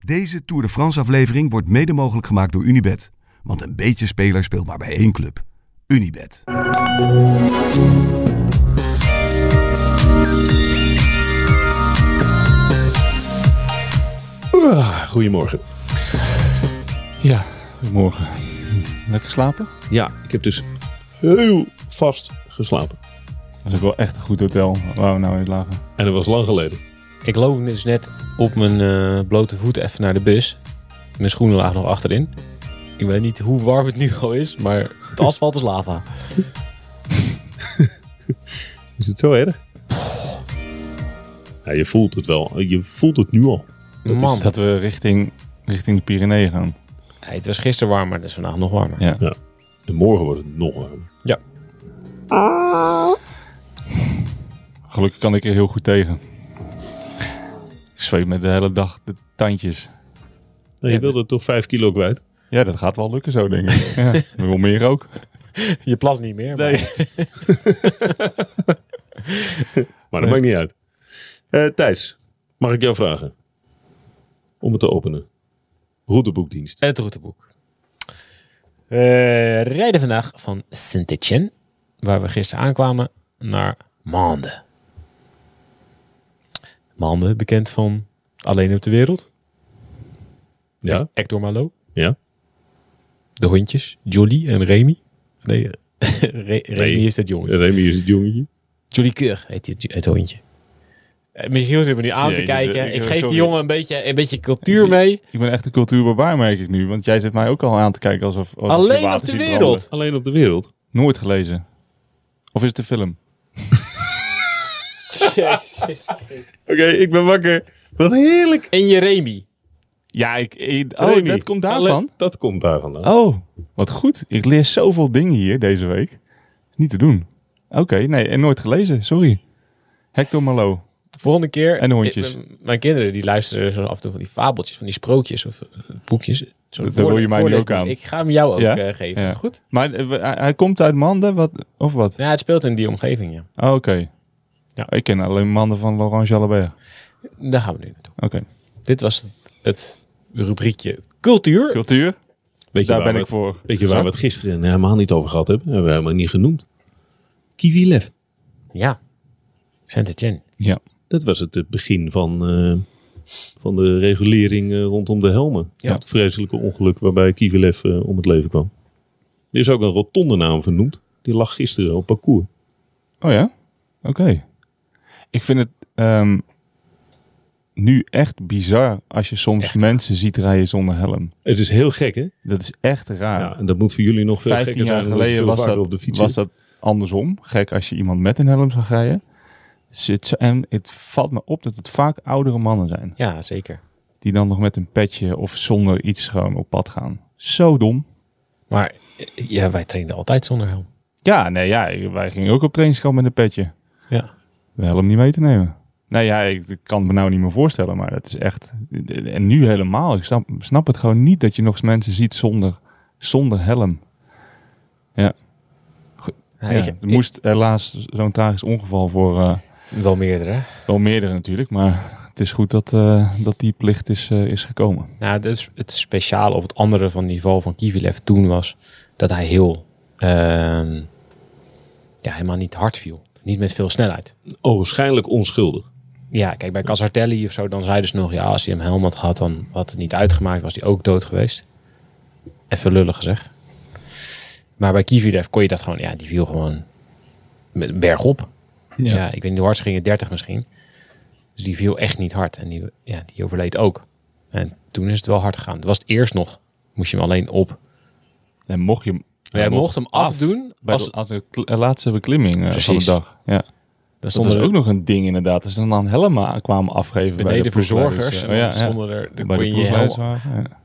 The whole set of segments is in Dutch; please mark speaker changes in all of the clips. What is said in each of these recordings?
Speaker 1: Deze Tour de France-aflevering wordt mede mogelijk gemaakt door Unibet. Want een beetje speler speelt maar bij één club. Unibet.
Speaker 2: Oeh, Goedemorgen.
Speaker 3: Ja, goedemorgen. Lekker slapen?
Speaker 2: Ja, ik heb dus heel vast geslapen.
Speaker 3: Dat is ook wel echt een goed hotel waar we nou in lagen.
Speaker 2: En dat was lang geleden.
Speaker 4: Ik loop dus net op mijn eh, blote voet even naar de bus. Mijn schoenen lagen nog achterin. Ik weet niet hoe warm het nu al is, maar het asfalt is lava.
Speaker 2: Is het zo erg? Ja, je voelt het wel. Je voelt het nu al.
Speaker 4: Man,
Speaker 3: Dat we richting, richting de Pyreneeën gaan.
Speaker 4: Hey, het was gisteren warmer, dus vandaag nog warmer.
Speaker 3: Ja.
Speaker 2: En morgen wordt het nog warmer.
Speaker 3: Gelukkig kan ik er heel goed tegen. Ik zweet me de hele dag de tandjes.
Speaker 2: Nou, je wilde toch vijf kilo kwijt?
Speaker 3: Ja, dat gaat wel lukken zo, denk ik. ja, maar wel meer ook.
Speaker 4: Je plas niet meer. maar-
Speaker 2: Maar dat maakt niet uit. Eh, Thijs, mag ik jou vragen? Om het te openen. Routeboekdienst.
Speaker 4: Het routeboek. Eh, rijden vandaag van saint Etienne, waar we gisteren aankwamen, naar Mande. Mande, bekend van Alleen op de Wereld.
Speaker 2: Ja?
Speaker 4: Hector Malo.
Speaker 2: Ja?
Speaker 4: De hondjes, Jolly en Remy. Of Nee, eh, Re- Remy
Speaker 2: Nee.
Speaker 4: is dat
Speaker 3: Eh,
Speaker 4: jongetje.
Speaker 2: Remy is het jongetje.
Speaker 4: Jolly Keur heet het, het hondje. Eh, Michiel zit me nu aan te
Speaker 3: Jezus,
Speaker 4: kijken.
Speaker 3: ik-
Speaker 4: Ik, geef
Speaker 3: eh, sorry.
Speaker 4: die jongen een beetje, een beetje cultuur mee.
Speaker 3: Ik ben echt een cultuurbarbaar, merk ik nu. Want jij zit mij ook al aan te kijken alsof... alsof je
Speaker 4: Alleen
Speaker 3: water
Speaker 4: op de
Speaker 3: ziet
Speaker 4: wereld.
Speaker 3: branden.
Speaker 2: Alleen op de wereld.
Speaker 3: Nooit gelezen. Of is het de film?
Speaker 4: Jezus.
Speaker 2: Oké, ik ben wakker. Wat heerlijk.
Speaker 4: En je Remy.
Speaker 3: Ja, ik... ik- oh,
Speaker 2: Remy.
Speaker 3: dat komt daarvan?
Speaker 2: Alleen- dat komt daar vandaan.
Speaker 3: Oh, wat goed. Ik leer zoveel dingen hier deze week. Niet te doen. Oké, nee, en nooit gelezen, sorry. Hector Malo.
Speaker 4: De volgende keer...
Speaker 3: En de hondjes.
Speaker 4: Ik- m- mijn kinderen die luisteren zo af en toe van die fabeltjes, van die sprookjes of eh, boekjes. Zo'n
Speaker 3: Dat wil
Speaker 4: voorle-
Speaker 3: je mij nu
Speaker 4: voorlees-
Speaker 3: ook aan.
Speaker 4: Ik ga hem jou ook
Speaker 3: Ja?
Speaker 4: eh, geven.
Speaker 3: Ja.
Speaker 4: Goed?
Speaker 3: Maar eh, we- hij, hij komt uit Manden, wat, of wat?
Speaker 4: Ja, het speelt in die omgeving, ja.
Speaker 3: Oh, Oké.
Speaker 4: Ja.
Speaker 3: Ik ken alleen Manden van Laurent Jalabert.
Speaker 4: Daar gaan we nu naartoe.
Speaker 3: Oké.
Speaker 4: Dit was het rubriekje cultuur.
Speaker 3: Cultuur,
Speaker 2: Weet je
Speaker 3: daar
Speaker 2: waar
Speaker 3: ben
Speaker 2: we
Speaker 3: ik
Speaker 2: het-
Speaker 3: voor.
Speaker 2: Weet je waar we het gisteren eh, helemaal niet over gehad hebben? Hebben we helemaal niet genoemd. Kiwilev.
Speaker 4: Ja. Saint-Étienne.
Speaker 3: Ja.
Speaker 2: Dat was het eh, begin van, eh, van de regulering eh, rondom de helmen.
Speaker 4: Ja.
Speaker 2: Het vreselijke ongeluk waarbij Kivilev eh, om het leven kwam. Er is ook een rotonde naam vernoemd. Die lag gisteren op parcours.
Speaker 3: Oh ja? Oké. Ik vind het ehm, nu echt bizar als je soms mensen ziet rijden zonder helm.
Speaker 2: Het is heel gek, hè?
Speaker 3: Dat is echt raar.
Speaker 2: Ja, en dat moet voor jullie nog veel
Speaker 3: 15
Speaker 2: gekker
Speaker 3: jaar
Speaker 2: zijn. omdat je veel
Speaker 3: geleden was
Speaker 2: vaker
Speaker 3: dat,
Speaker 2: op de fiets
Speaker 3: was
Speaker 2: zit.
Speaker 3: dat andersom. Gek als je iemand met een helm zag rijden. Zit ze- En het valt me op dat het vaak oudere mannen zijn.
Speaker 4: Ja, zeker.
Speaker 3: Die dan nog met een petje of zonder iets gewoon op pad gaan. Zo dom.
Speaker 4: Maar eh, ja, wij trainen altijd zonder helm.
Speaker 3: Ja, nee, ja, wij gingen ook op trainingskamp met een petje.
Speaker 4: Ja.
Speaker 3: De helm niet mee te nemen. Nou ja, ik, ik kan het me nou niet meer voorstellen, maar dat is echt... En nu helemaal. Ik snap, snap het gewoon niet dat je nog eens mensen ziet zonder, zonder helm. Ja,
Speaker 4: ik-
Speaker 3: er
Speaker 4: ik-
Speaker 3: moest helaas zo'n tragisch ongeval voor... eh,
Speaker 4: wel meerdere.
Speaker 3: Wel meerdere natuurlijk, maar het is goed dat, eh, dat die plicht is, eh, is gekomen.
Speaker 4: Nou, dus het speciale of het andere van die val van Kivilev toen was dat hij heel, ehm, ja, helemaal niet hard viel. Niet met veel snelheid.
Speaker 2: Ogenschijnlijk onschuldig.
Speaker 4: Ja, kijk, bij Casartelli of zo, dan zeiden ze nog, ja, als hij hem helm had gehad, dan had het niet uitgemaakt, was hij ook dood geweest. Even lullig gezegd. Maar bij Kivilev kon je dat gewoon, ja, die viel gewoon met- bergop. Ja. ik weet niet hoe hard ze gingen, 30 misschien. Dus die viel echt niet hard en die, ja, die overleed ook. En toen is het wel hard gegaan. Het was het eerst nog, moest je hem alleen op.
Speaker 3: En mocht je hem,
Speaker 4: Jij mocht hem afdoen,
Speaker 3: bij
Speaker 4: als,
Speaker 3: de, als de kl- eh, laatste beklimming eh, van de
Speaker 4: Precies.
Speaker 3: dag. Ja.
Speaker 4: dan
Speaker 3: Dat was
Speaker 4: stonden er
Speaker 3: ook nog een ding inderdaad. Dus dan aan helmen aan- kwamen afgeven bij de
Speaker 4: beneden verzorgers.
Speaker 3: ploegleiders, eh.
Speaker 4: en
Speaker 3: Oh,
Speaker 4: dan stonden er, dan
Speaker 3: Bij
Speaker 4: kon
Speaker 3: de
Speaker 4: je je helm-
Speaker 3: ploegleiderswagen, ja.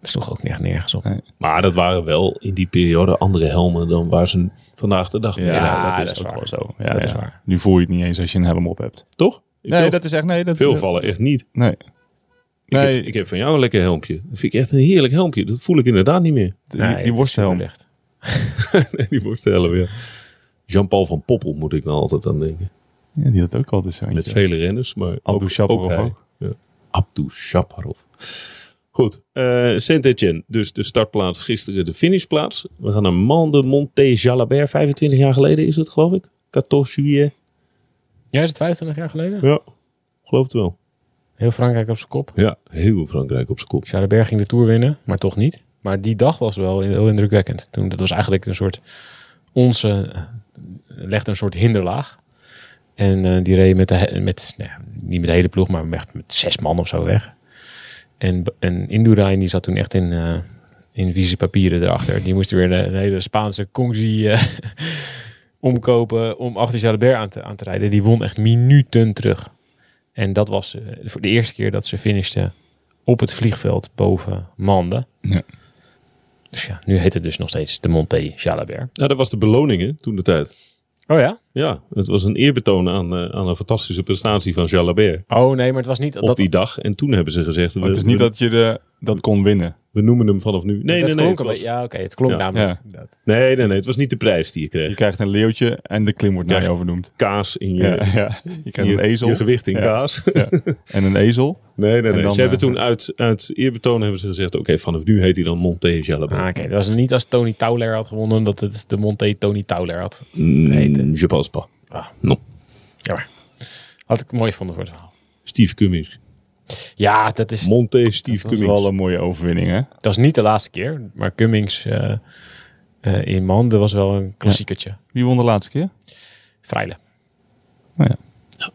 Speaker 4: Dat sloeg ook echt nergens op.
Speaker 3: Nee.
Speaker 2: Maar dat waren wel in die periode andere helmen dan waar ze vandaag de dag mee
Speaker 3: Ja,
Speaker 2: rijden.
Speaker 3: dat is
Speaker 4: dat is
Speaker 3: ook
Speaker 4: waar.
Speaker 3: wel zo. Ja,
Speaker 4: Dat
Speaker 3: ja.
Speaker 4: is waar.
Speaker 3: Nu voel je het niet eens als je een helm op hebt.
Speaker 2: Toch? Ik
Speaker 3: Nee,
Speaker 2: wil-
Speaker 3: dat is echt... Nee, dat,
Speaker 2: Veel vallen echt niet.
Speaker 3: Nee.
Speaker 2: Ik,
Speaker 3: Nee,
Speaker 2: heb, ik heb van jou een lekker helmpje. Dat vind ik echt een heerlijk helmpje. Dat voel ik inderdaad niet meer.
Speaker 3: die, die worstelhelm.
Speaker 4: echt.
Speaker 2: Nee, die worstelen weer. Jean-Paul van Poppel moet ik nou altijd aan denken.
Speaker 3: Ja, die had ook altijd zo.
Speaker 2: Met vele renners, maar
Speaker 3: Abdou
Speaker 2: ook,
Speaker 3: Chapeau
Speaker 2: ook hij.
Speaker 3: ook.
Speaker 2: Ja. Abdu Shaparov. Goed, eh saint Etienne, dus de startplaats gisteren, de finishplaats. We gaan naar Mande Monte Jalabert, 25 jaar geleden is het geloof ik. 14 juillet.
Speaker 4: Jij is het 25 jaar geleden?
Speaker 2: Ja, geloof het wel.
Speaker 4: Heel Frankrijk op zijn kop.
Speaker 2: Ja, heel Frankrijk op zijn kop.
Speaker 4: Jalabert ging de Tour winnen, maar toch niet. Maar die dag was wel heel indrukwekkend. Toen, dat was eigenlijk een soort... Onze eh, legde een soort hinderlaag. En eh, die reed met, de, he- met nou, ja, niet met de hele ploeg, maar echt met zes man of zo weg. En, B- en Indurain die zat toen echt in, eh in vieze papieren erachter. Die moest weer een, een hele Spaanse Kongsi eh, omkopen om achter Jalabert aan te, aan te rijden. Die won echt minuten terug. En dat was eh, voor de eerste keer dat ze finishte op het vliegveld boven Mande.
Speaker 3: Ja.
Speaker 4: Dus ja, nu heet het dus nog steeds de Monte Jalabert.
Speaker 2: Ja, dat was de beloning hè, toen de tijd.
Speaker 4: Oh ja?
Speaker 2: Ja, het was een eerbetoon aan, eh, aan een fantastische prestatie van Jalabert
Speaker 4: Oh nee, maar het was niet...
Speaker 2: op
Speaker 4: dat,
Speaker 2: die dag. En toen hebben ze gezegd,
Speaker 3: Maar het
Speaker 2: we,
Speaker 3: is niet
Speaker 2: we,
Speaker 3: dat je de, dat kon winnen.
Speaker 2: we noemen hem vanaf nu. Nee,
Speaker 4: dat
Speaker 2: nee, nee,
Speaker 4: klonk
Speaker 2: het
Speaker 4: een
Speaker 2: was-
Speaker 4: beetje- Ja, oké, het klonk
Speaker 2: Ja.
Speaker 4: namelijk.
Speaker 3: Ja.
Speaker 4: inderdaad.
Speaker 2: nee, nee, nee, het was niet de prijs die je
Speaker 3: Je
Speaker 2: kreeg.
Speaker 3: krijgt een leeuwtje en de klim wordt naar je
Speaker 2: Ja.
Speaker 3: overnoemd.
Speaker 2: Kaas in je,
Speaker 3: Ja, ja. Je krijgt
Speaker 2: je,
Speaker 3: een ezel
Speaker 2: je gewicht in
Speaker 3: Ja.
Speaker 2: kaas.
Speaker 3: en een ezel.
Speaker 2: Nee, nee, nee.
Speaker 3: dan,
Speaker 2: ze hebben
Speaker 3: eh,
Speaker 2: toen uit, uit eerbetoon hebben ze gezegd... oké, vanaf nu heet hij dan Monte Jalabert.
Speaker 4: Ah, oké, dat was niet als Tony Tauler had gewonnen, dat het de Monte Tony Tauler had.
Speaker 2: nee, Mm, je pense pas. Ah, non.
Speaker 4: Jammer. Had ik mooi gevonden voor het verhaal.
Speaker 2: Steve Cummings.
Speaker 4: Ja, dat is,
Speaker 2: Monte Steve
Speaker 3: Dat is
Speaker 2: Cummings.
Speaker 3: wel een mooie overwinning, hè?
Speaker 4: dat is niet de laatste keer. Maar Cummings eh, eh, in Mande was wel een klassiekertje.
Speaker 3: Wie won de laatste keer?
Speaker 4: Vrijle.
Speaker 3: Nou ja.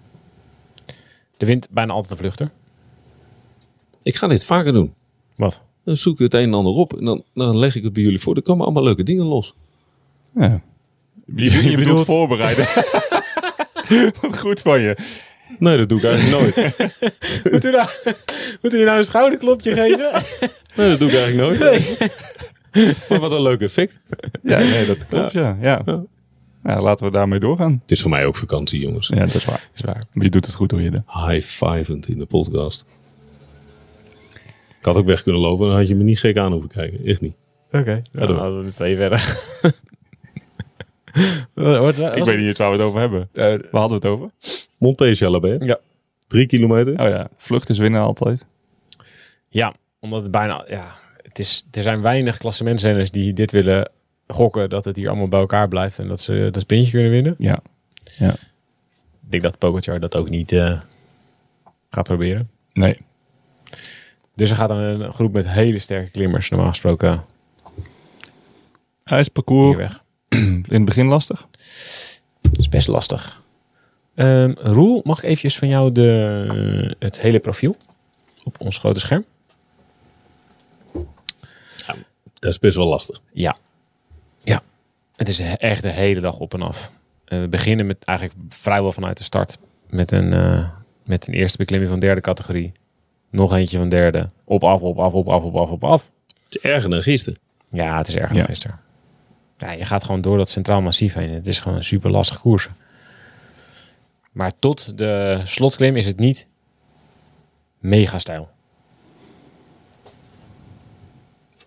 Speaker 4: De wint bijna altijd een vluchter.
Speaker 2: Ik ga dit vaker doen.
Speaker 4: Wat?
Speaker 2: Dan zoek ik het een en ander op en dan, dan leg ik het bij jullie voor. Er komen allemaal leuke dingen los.
Speaker 3: Ja. Je, je bedoelt,
Speaker 4: bedoelt-
Speaker 3: voorbereiden. Wat goed van je.
Speaker 2: Nee, dat doe ik eigenlijk nooit.
Speaker 4: Moet u nou, moet u nou een schouderklopje geven?
Speaker 2: Nee, dat doe ik eigenlijk nooit. Maar wat een leuk effect.
Speaker 3: Ja, nee, dat klopt, ja. ja.
Speaker 2: Ja.
Speaker 3: Nou, laten we daarmee doorgaan.
Speaker 2: Het is voor mij ook vakantie, jongens.
Speaker 3: Ja, dat is waar.
Speaker 4: is waar.
Speaker 3: Maar je doet het goed hoor, Jidde.
Speaker 2: High-fivend in de podcast. Ik had ook weg kunnen lopen, dan had je me niet gek aan hoeven kijken. Echt niet.
Speaker 4: Oké, dan
Speaker 2: doen we.
Speaker 4: hadden we met z'n tweeën verder. Wat- wat-
Speaker 3: Ik
Speaker 4: was-
Speaker 3: weet niet eens waar we het over hebben. Waar hadden we het over?
Speaker 2: Monte Jalabert.
Speaker 4: Ja.
Speaker 2: Drie kilometer.
Speaker 3: Oh ja, vluchters winnen altijd.
Speaker 4: Ja, omdat het bijna... Ja, het is, er zijn weinig klassementsrenners die dit willen gokken... dat het hier allemaal bij elkaar blijft en dat ze dat sprintje kunnen winnen.
Speaker 3: Ja.
Speaker 4: Ik denk dat Pogacar dat ook niet eh, gaat proberen.
Speaker 3: Nee.
Speaker 4: Dus er gaat dan een groep met hele sterke klimmers normaal gesproken
Speaker 3: Hij is
Speaker 4: hier
Speaker 3: parcours
Speaker 4: weg.
Speaker 3: in het begin lastig.
Speaker 4: Dat is best lastig. Ehm, Roel, mag ik eventjes van jou de, het hele profiel op ons grote scherm?
Speaker 2: Dat is best wel lastig.
Speaker 4: Ja. Ja. Het is he- echt de hele dag op en af. Eh, we beginnen met eigenlijk vrijwel vanuit de start. Met een, eh, met een eerste beklimming van derde categorie. Nog eentje van derde. Op, af, op, af, op, af, op, af, op, af.
Speaker 2: Het is erger dan gisteren.
Speaker 4: Ja, het is erger
Speaker 3: Ja.
Speaker 4: dan gisteren. Ja, je gaat gewoon door dat centraal massief heen. Het is gewoon een super lastige koers. Maar tot de slotklim is het niet mega stijl.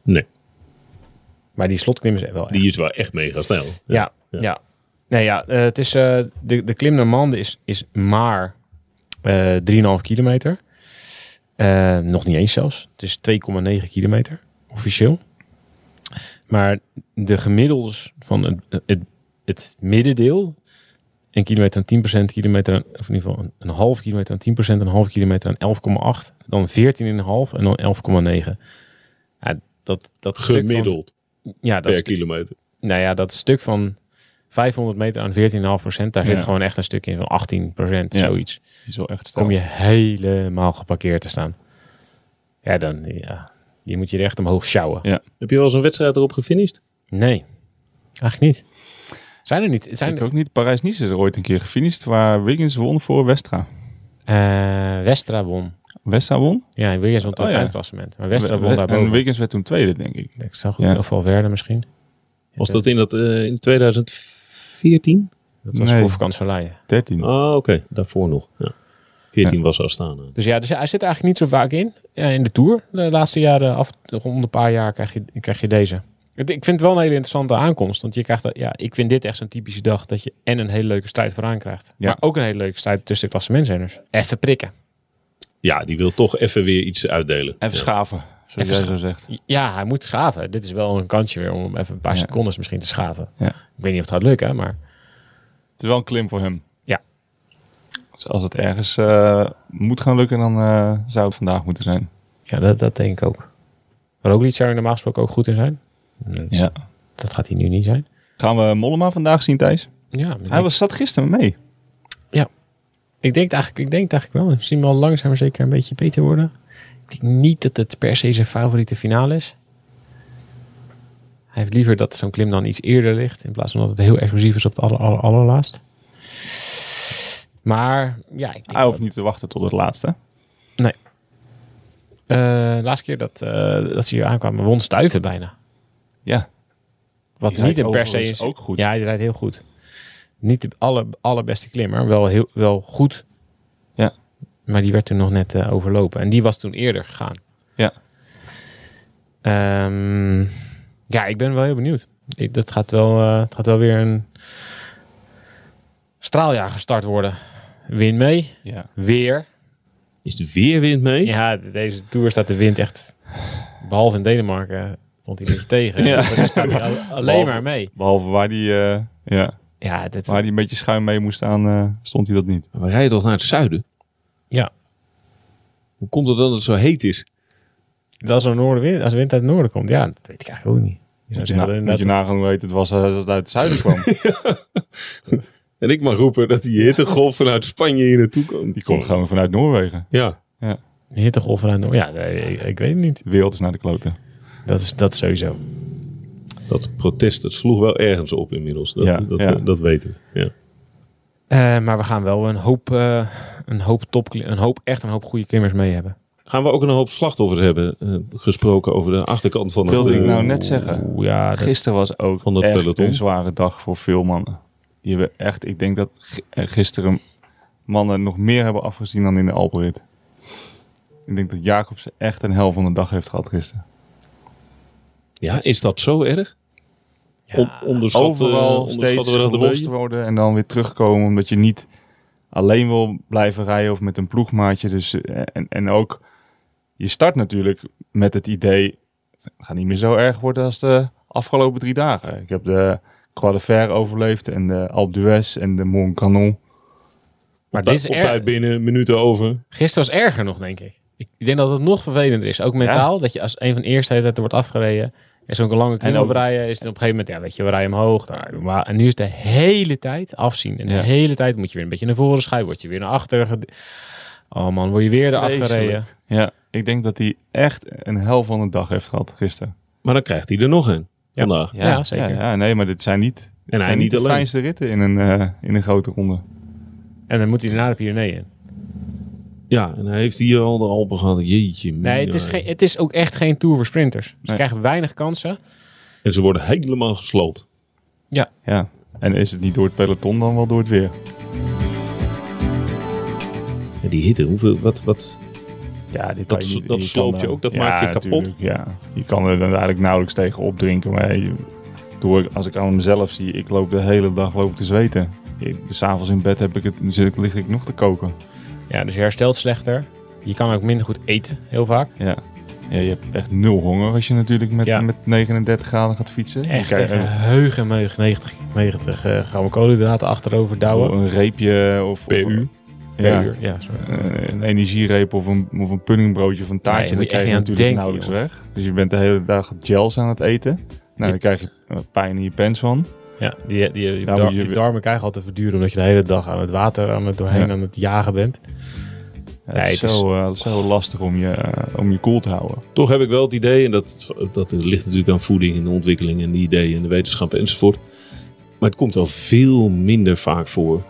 Speaker 2: Nee,
Speaker 4: Maar die slotklim is wel echt
Speaker 2: die is wel echt mega snel.
Speaker 4: Ja, ja. Nee, ja, eh, het is, eh, de, de klim naar Mande is, is maar eh 3,5 kilometer. Eh, nog niet eens zelfs. Het is 2,9 kilometer, officieel. Maar de gemiddeldes van het, het, het middendeel, een kilometer aan 10%, kilometer aan, of in ieder geval een, een half kilometer aan 10%, een half kilometer aan 11,8, dan 14,5 en dan 11,9. Ja, dat, dat stuk van-
Speaker 2: Gemiddeld
Speaker 4: ja, dat
Speaker 2: per
Speaker 4: is
Speaker 2: kilometer.
Speaker 4: nou ja, dat stuk van 500 meter aan 14,5 daar zit
Speaker 3: Ja.
Speaker 4: gewoon echt een stuk in van 18
Speaker 3: Ja.
Speaker 4: zoiets.
Speaker 3: Die is wel echt sterk.
Speaker 4: Kom je helemaal geparkeerd te staan. Ja, dan ja, je moet je er echt omhoog sjouwen.
Speaker 2: Heb je wel eens een wedstrijd erop gefinished?
Speaker 4: Nee, eigenlijk niet. Zijn er niet? Zijn
Speaker 3: Ik ook niet. Parijs-Nice is er ooit een keer gefinished waar Wiggins won voor Westra.
Speaker 4: Eh, Westra won.
Speaker 3: Westra won.
Speaker 4: Ja, Wiggins won tot
Speaker 3: Oh,
Speaker 4: het
Speaker 3: ja.
Speaker 4: eindklassement. Maar Westra won
Speaker 3: en
Speaker 4: daarboven.
Speaker 3: Wiggins werd toen tweede, denk ik.
Speaker 4: Ik zag
Speaker 3: Ja.
Speaker 4: goed, of Valverde misschien.
Speaker 2: Was dat in, dat, eh, in 2014?
Speaker 4: Dat was
Speaker 3: Nee.
Speaker 4: voor vakantie
Speaker 3: Dertien.
Speaker 2: Ah, oké. Daarvoor nog. Ja. 14 was eh. Astana.
Speaker 4: Dus ja, dus hij zit er eigenlijk niet zo vaak in. Ja, in de Tour. De laatste jaren, af, om een paar jaar, krijg je, krijg je deze. Het- Ik vind het wel een hele interessante aankomst. Want je krijgt, dat- ja, ik vind dit echt zo'n typische dag dat je en een hele leuke strijd vooraan krijgt.
Speaker 3: Ja.
Speaker 4: Maar ook een hele leuke strijd tussen de klassementsrenners. Even prikken.
Speaker 2: Ja, die wil toch even weer iets uitdelen.
Speaker 3: Even
Speaker 2: Ja.
Speaker 3: schaven, zoals
Speaker 4: Even
Speaker 3: jij
Speaker 4: scha-
Speaker 3: zo zegt.
Speaker 4: Ja, hij moet schaven. Dit is wel een kansje weer om hem even een paar
Speaker 3: Ja.
Speaker 4: secondes misschien te schaven.
Speaker 3: Ja.
Speaker 4: Ik weet niet of het gaat lukken, maar
Speaker 3: Het is wel een klim voor hem.
Speaker 4: Ja.
Speaker 3: Dus als het ergens eh, moet gaan lukken, dan eh, zou het vandaag moeten zijn.
Speaker 4: ja, dat, dat denk ik ook. Roglic zou er normaal gesproken ook goed in zijn.
Speaker 3: Ja.
Speaker 4: Dat gaat hij nu niet zijn.
Speaker 3: Gaan we Mollema vandaag zien, Thijs?
Speaker 4: Ja,
Speaker 3: Hij was, zat gisteren mee.
Speaker 4: Ik denk het eigenlijk, ik denk het eigenlijk wel. We zien hem al langzaam maar zeker een beetje beter worden. Ik denk niet dat het per se zijn favoriete finale is. Hij heeft liever dat zo'n klim dan iets eerder ligt. In plaats van dat het heel explosief is op het aller, aller, allerlaatst. Maar ja, ik denk
Speaker 3: Hij hoeft
Speaker 4: dat-
Speaker 3: niet te wachten tot het laatste.
Speaker 4: Eh, de laatste keer dat, eh, dat ze hier aankwamen, won Stuiven bijna.
Speaker 3: Ja.
Speaker 4: Wat
Speaker 3: Die
Speaker 4: niet
Speaker 3: rijdt
Speaker 4: een per se
Speaker 3: overigens
Speaker 4: is.
Speaker 3: ook goed.
Speaker 4: Ja, hij rijdt heel goed. Niet de alle, allerbeste klimmer, wel, heel, wel goed.
Speaker 3: Ja.
Speaker 4: Maar die werd toen nog net eh, overlopen. En die was toen eerder gegaan.
Speaker 3: Ja.
Speaker 4: Ehm, ja, ik ben wel heel benieuwd. Ik, dat gaat wel, eh, het gaat wel weer een straaljaar gestart worden. Win mee.
Speaker 3: ja.
Speaker 4: Weer.
Speaker 2: Is de weerwind mee?
Speaker 4: Ja, de- deze tour staat de wind echt. Behalve in Denemarken stond hij een beetje tegen.
Speaker 3: Ja.
Speaker 4: Voor de rest staat hij al- alleen maar mee.
Speaker 3: Behalve waar die, eh, ja,
Speaker 4: Ja, dit,
Speaker 3: waar die een beetje schuin mee moest staan, eh, stond hij dat niet.
Speaker 2: Maar we rijden toch naar het zuiden?
Speaker 4: Ja.
Speaker 2: Hoe komt het dan dat het zo heet is?
Speaker 4: dat als, een noordenwind, als de wind uit het noorden komt, ja, dat weet ik eigenlijk ook niet. Je zou
Speaker 3: Moet je,
Speaker 4: zeggen,
Speaker 3: na, moet
Speaker 4: inderdaad-
Speaker 3: je nagaan hoe heet het was eh, als het uit het zuiden kwam.
Speaker 2: En ik mag roepen dat die hittegolf vanuit Spanje hier naartoe komt.
Speaker 3: Die komt gewoon vanuit Noorwegen.
Speaker 2: Ja.
Speaker 4: hittegolf vanuit het noorden. Ja, nee, ik, ik weet het niet.
Speaker 3: De wereld is naar de kloten.
Speaker 4: Dat is dat sowieso.
Speaker 2: Dat protest, dat sloeg wel ergens op inmiddels. Dat,
Speaker 3: Ja,
Speaker 2: dat, eh,
Speaker 3: ja.
Speaker 2: dat weten we. Ja.
Speaker 4: Eh, maar we gaan wel een hoop, eh, een hoop top, een hoop, echt een hoop goede klimmers mee hebben.
Speaker 2: Gaan we ook een hoop slachtoffers hebben eh, gesproken over de achterkant van het...
Speaker 3: Wilde ik
Speaker 2: eh,
Speaker 3: nou net zeggen.
Speaker 4: Oeh, ja, dat-
Speaker 3: Gisteren was ook
Speaker 2: Van dat
Speaker 3: echt
Speaker 2: peloton.
Speaker 3: een zware dag voor veel mannen. Die hebben echt, ik denk dat g- eh, gisteren mannen nog meer hebben afgezien dan in de Alpenrit. Ik denk dat Jacobsen echt een hel van een dag heeft gehad gisteren.
Speaker 2: Ja, is dat zo erg?
Speaker 4: ja.
Speaker 2: On- onderschatten-
Speaker 3: Overal
Speaker 2: onderschatten
Speaker 3: steeds
Speaker 2: we dat een
Speaker 3: gelost
Speaker 2: beetje?
Speaker 3: worden en dan weer terugkomen omdat je niet alleen wil blijven rijden of met een ploegmaatje. Dus, eh, en, en ook, je start natuurlijk met het idee, het gaat niet meer zo erg worden als de afgelopen drie dagen. Ik heb de Croix de Fer overleefd en de Alpe d'Huez en de Mont Canon.
Speaker 4: maar
Speaker 2: Op
Speaker 4: dit is
Speaker 2: tijd
Speaker 4: erg.
Speaker 2: binnen, minuten over.
Speaker 4: Gisteren was erger nog, denk ik. Ik ik denk dat het nog vervelender is. Ook mentaal, dat je als een van de eerste hele tijd er wordt afgereden. En zo'n lange klim
Speaker 3: En ook-
Speaker 4: op rijden is het op een gegeven moment, ja, weet je, we rijden omhoog. daar, doe maar. En nu is de hele tijd afzien. En
Speaker 3: Ja.
Speaker 4: de hele tijd moet je weer een beetje naar voren schuiven. Word je weer naar achteren. ged- Oh man, word je weer eraf
Speaker 3: Vreselijk.
Speaker 4: gereden.
Speaker 3: Ja, ik denk dat hij echt een hel van een dag heeft gehad gisteren.
Speaker 2: Maar dan krijgt hij er nog een.
Speaker 4: Ja.
Speaker 2: Vandaag.
Speaker 4: Ja, zeker.
Speaker 3: Ja, ja, nee, maar dit zijn niet, dit
Speaker 2: hij
Speaker 3: zijn
Speaker 2: niet
Speaker 3: niet de
Speaker 2: alleen.
Speaker 3: fijnste ritten in een, eh, in een grote ronde.
Speaker 4: En dan moet hij daarna de Pyreneeën in.
Speaker 2: Ja, en hij heeft hier al de Alpen gehad. Jeetje.
Speaker 4: Nee, het
Speaker 2: mina.
Speaker 4: is, geen, het is ook echt geen Tour voor sprinters. Ze
Speaker 3: Nee.
Speaker 4: krijgen weinig kansen.
Speaker 2: En ze worden helemaal gesloopt.
Speaker 3: Ja, en is het niet door het peloton dan wel door het weer?
Speaker 2: Ja, die hitte, hoeveel, wat, wat...
Speaker 3: Ja, dit
Speaker 2: kan je niet- je kan, eh, ja, natuurlijk,
Speaker 3: Ja, je kan er dan eigenlijk nauwelijks tegen opdrinken. Maar je- door, als ik aan mezelf zie, ik loop de hele dag loop ik te zweten. Ik- S'avonds in bed heb ik het, zit ik, lig ik nog te koken.
Speaker 4: Ja, dus je herstelt slechter. Je kan ook minder goed eten, heel vaak.
Speaker 3: Ja. ja, je hebt echt nul honger als je natuurlijk met,
Speaker 4: Ja.
Speaker 3: met 39 graden gaat fietsen.
Speaker 4: Echt
Speaker 3: Kijk, eh,
Speaker 4: tegen heug en meug 90, 90 eh, gram koolhydraten achterover
Speaker 3: een,
Speaker 4: douwen.
Speaker 3: een reepje of... of-
Speaker 2: PU.
Speaker 3: Ja,
Speaker 4: uur. Ja, sorry.
Speaker 3: eh, een energiereep of een, of een puddingbroodje of een taartje.
Speaker 4: Nee,
Speaker 3: dan
Speaker 4: moet je
Speaker 3: krijg je
Speaker 4: echt niet
Speaker 3: natuurlijk
Speaker 4: aan
Speaker 3: nauwelijks
Speaker 4: denken,
Speaker 3: weg. Dus je bent de hele dag gels aan het eten. Nou,
Speaker 4: Ja.
Speaker 3: dan krijg je eh, pijn in je pens van.
Speaker 4: Ja, die, die, die,
Speaker 3: Daar
Speaker 4: dar-
Speaker 3: moet je-
Speaker 4: die darmen krijgen al te verduren omdat je de hele dag aan het water aan het doorheen
Speaker 3: Ja.
Speaker 4: aan het jagen bent.
Speaker 3: Ja,
Speaker 4: Nee,
Speaker 3: het is
Speaker 4: het is-
Speaker 3: zo, eh, zo lastig om je, eh, om je koel te houden.
Speaker 2: Toch heb ik wel het idee, en dat, dat ligt natuurlijk aan voeding en de ontwikkeling en de ideeën en de wetenschap enzovoort. Maar het komt wel veel minder vaak voor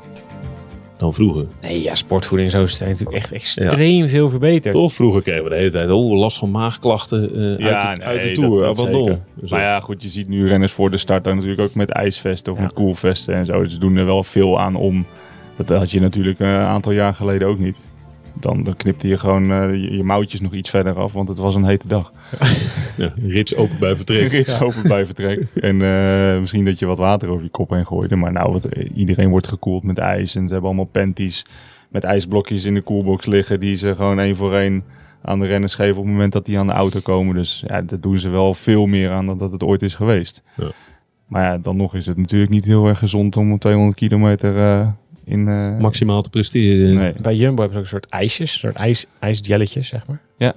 Speaker 2: dan vroeger.
Speaker 4: Nee, ja, sportvoeding en zo is natuurlijk echt extreem veel verbeterd.
Speaker 2: Toch vroeger kregen we de hele tijd oh, last van maagklachten eh, uit, de,
Speaker 3: nee,
Speaker 2: uit de
Speaker 3: dat-
Speaker 2: tour.
Speaker 3: dat
Speaker 2: abandon.
Speaker 3: zeker.
Speaker 2: Zo.
Speaker 3: eh, Maar ja, goed, je ziet nu renners voor de start dan natuurlijk ook met ijsvesten of
Speaker 4: Ja.
Speaker 3: met koelvesten en zo. Dus ze doen er wel veel aan om. Dat had je natuurlijk eh, een aantal jaar geleden ook niet. Dan, dan knipte je gewoon eh, je, je mouwtjes nog iets verder af, want het was een hete dag.
Speaker 2: Ja, rits open bij vertrek.
Speaker 3: Rits open bij vertrek. En eh, misschien dat je wat water over je kop heen gooide. Maar nou, wat, eh, iedereen wordt gekoeld met ijs en ze hebben allemaal panties met ijsblokjes in de koelbox liggen. Die ze gewoon één voor één aan de renners geven op het moment dat die aan de auto komen. Dus ja, dat doen ze wel veel meer aan dan dat het ooit is geweest.
Speaker 2: Ja.
Speaker 3: Maar ja, dan nog is het natuurlijk niet heel erg gezond om 200 kilometer eh, in... eh,
Speaker 2: Maximaal te presteren.
Speaker 3: Nee.
Speaker 4: Bij Jumbo hebben ze ook een soort ijsjes, een soort ijs, ijsjelletjes, zeg maar.
Speaker 3: Ja.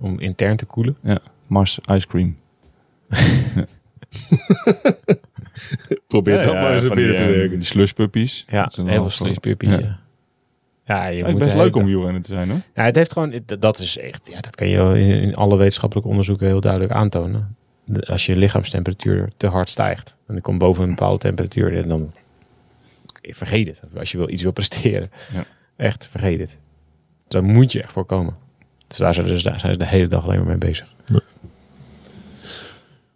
Speaker 4: Om intern te koelen.
Speaker 3: Mars ice cream.
Speaker 2: Probeer dat maar eens
Speaker 3: van
Speaker 2: binnen
Speaker 3: die,
Speaker 2: te
Speaker 3: eh,
Speaker 2: werken.
Speaker 3: Die slushpuppies.
Speaker 4: Ja,
Speaker 3: Dat zijn
Speaker 4: heel
Speaker 3: wel-
Speaker 4: veel slushpuppies.
Speaker 3: Ja.
Speaker 4: Ja, ja je
Speaker 3: Lijkt
Speaker 4: moet
Speaker 3: best
Speaker 4: de hele
Speaker 3: leuk om
Speaker 4: dag-
Speaker 3: wielrenner te zijn hoor.
Speaker 4: Ja, het heeft gewoon, d- dat is echt, ja, dat kan je wel in in alle wetenschappelijke onderzoeken heel duidelijk aantonen. De- Als je lichaamstemperatuur te hard stijgt en ik kom boven een bepaalde temperatuur, ja, dan vergeet het. Als je wil iets wil presteren,
Speaker 3: Ja.
Speaker 4: echt vergeet het. Daar moet je echt voor komen. Dus daar zijn, dus daar zijn ze de hele dag alleen maar mee bezig.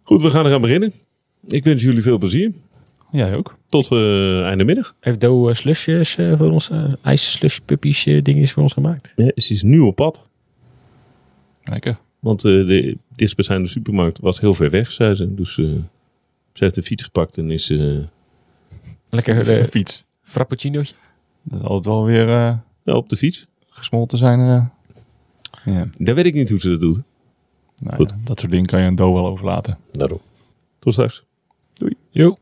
Speaker 2: Goed, we gaan eraan beginnen. Ik wens jullie veel plezier.
Speaker 3: Jij ook.
Speaker 2: Tot eh, einde middag.
Speaker 4: Heeft Do eh, slusjes eh, voor ons, eh ijsslushpuppies eh, dingetjes voor ons gemaakt?
Speaker 2: Ja, ze is nu op pad.
Speaker 3: Lekker.
Speaker 2: Want eh, de dichtstbijzijnde supermarkt was heel ver weg, zei ze. Dus eh, ze heeft de fiets gepakt en is... eh,
Speaker 4: Lekker
Speaker 3: Een
Speaker 4: eh
Speaker 3: fiets.
Speaker 4: frappuccinootje.
Speaker 3: Dat zal het wel weer eh,
Speaker 2: ja, op de fiets.
Speaker 3: gesmolten zijn. eh. Ja.
Speaker 2: Daar weet ik niet hoe ze dat doet.
Speaker 3: Nou,
Speaker 2: Goed.
Speaker 3: ja, dat soort dingen kan je een doel wel overlaten.
Speaker 2: Daarom. Tot straks.
Speaker 4: Jo.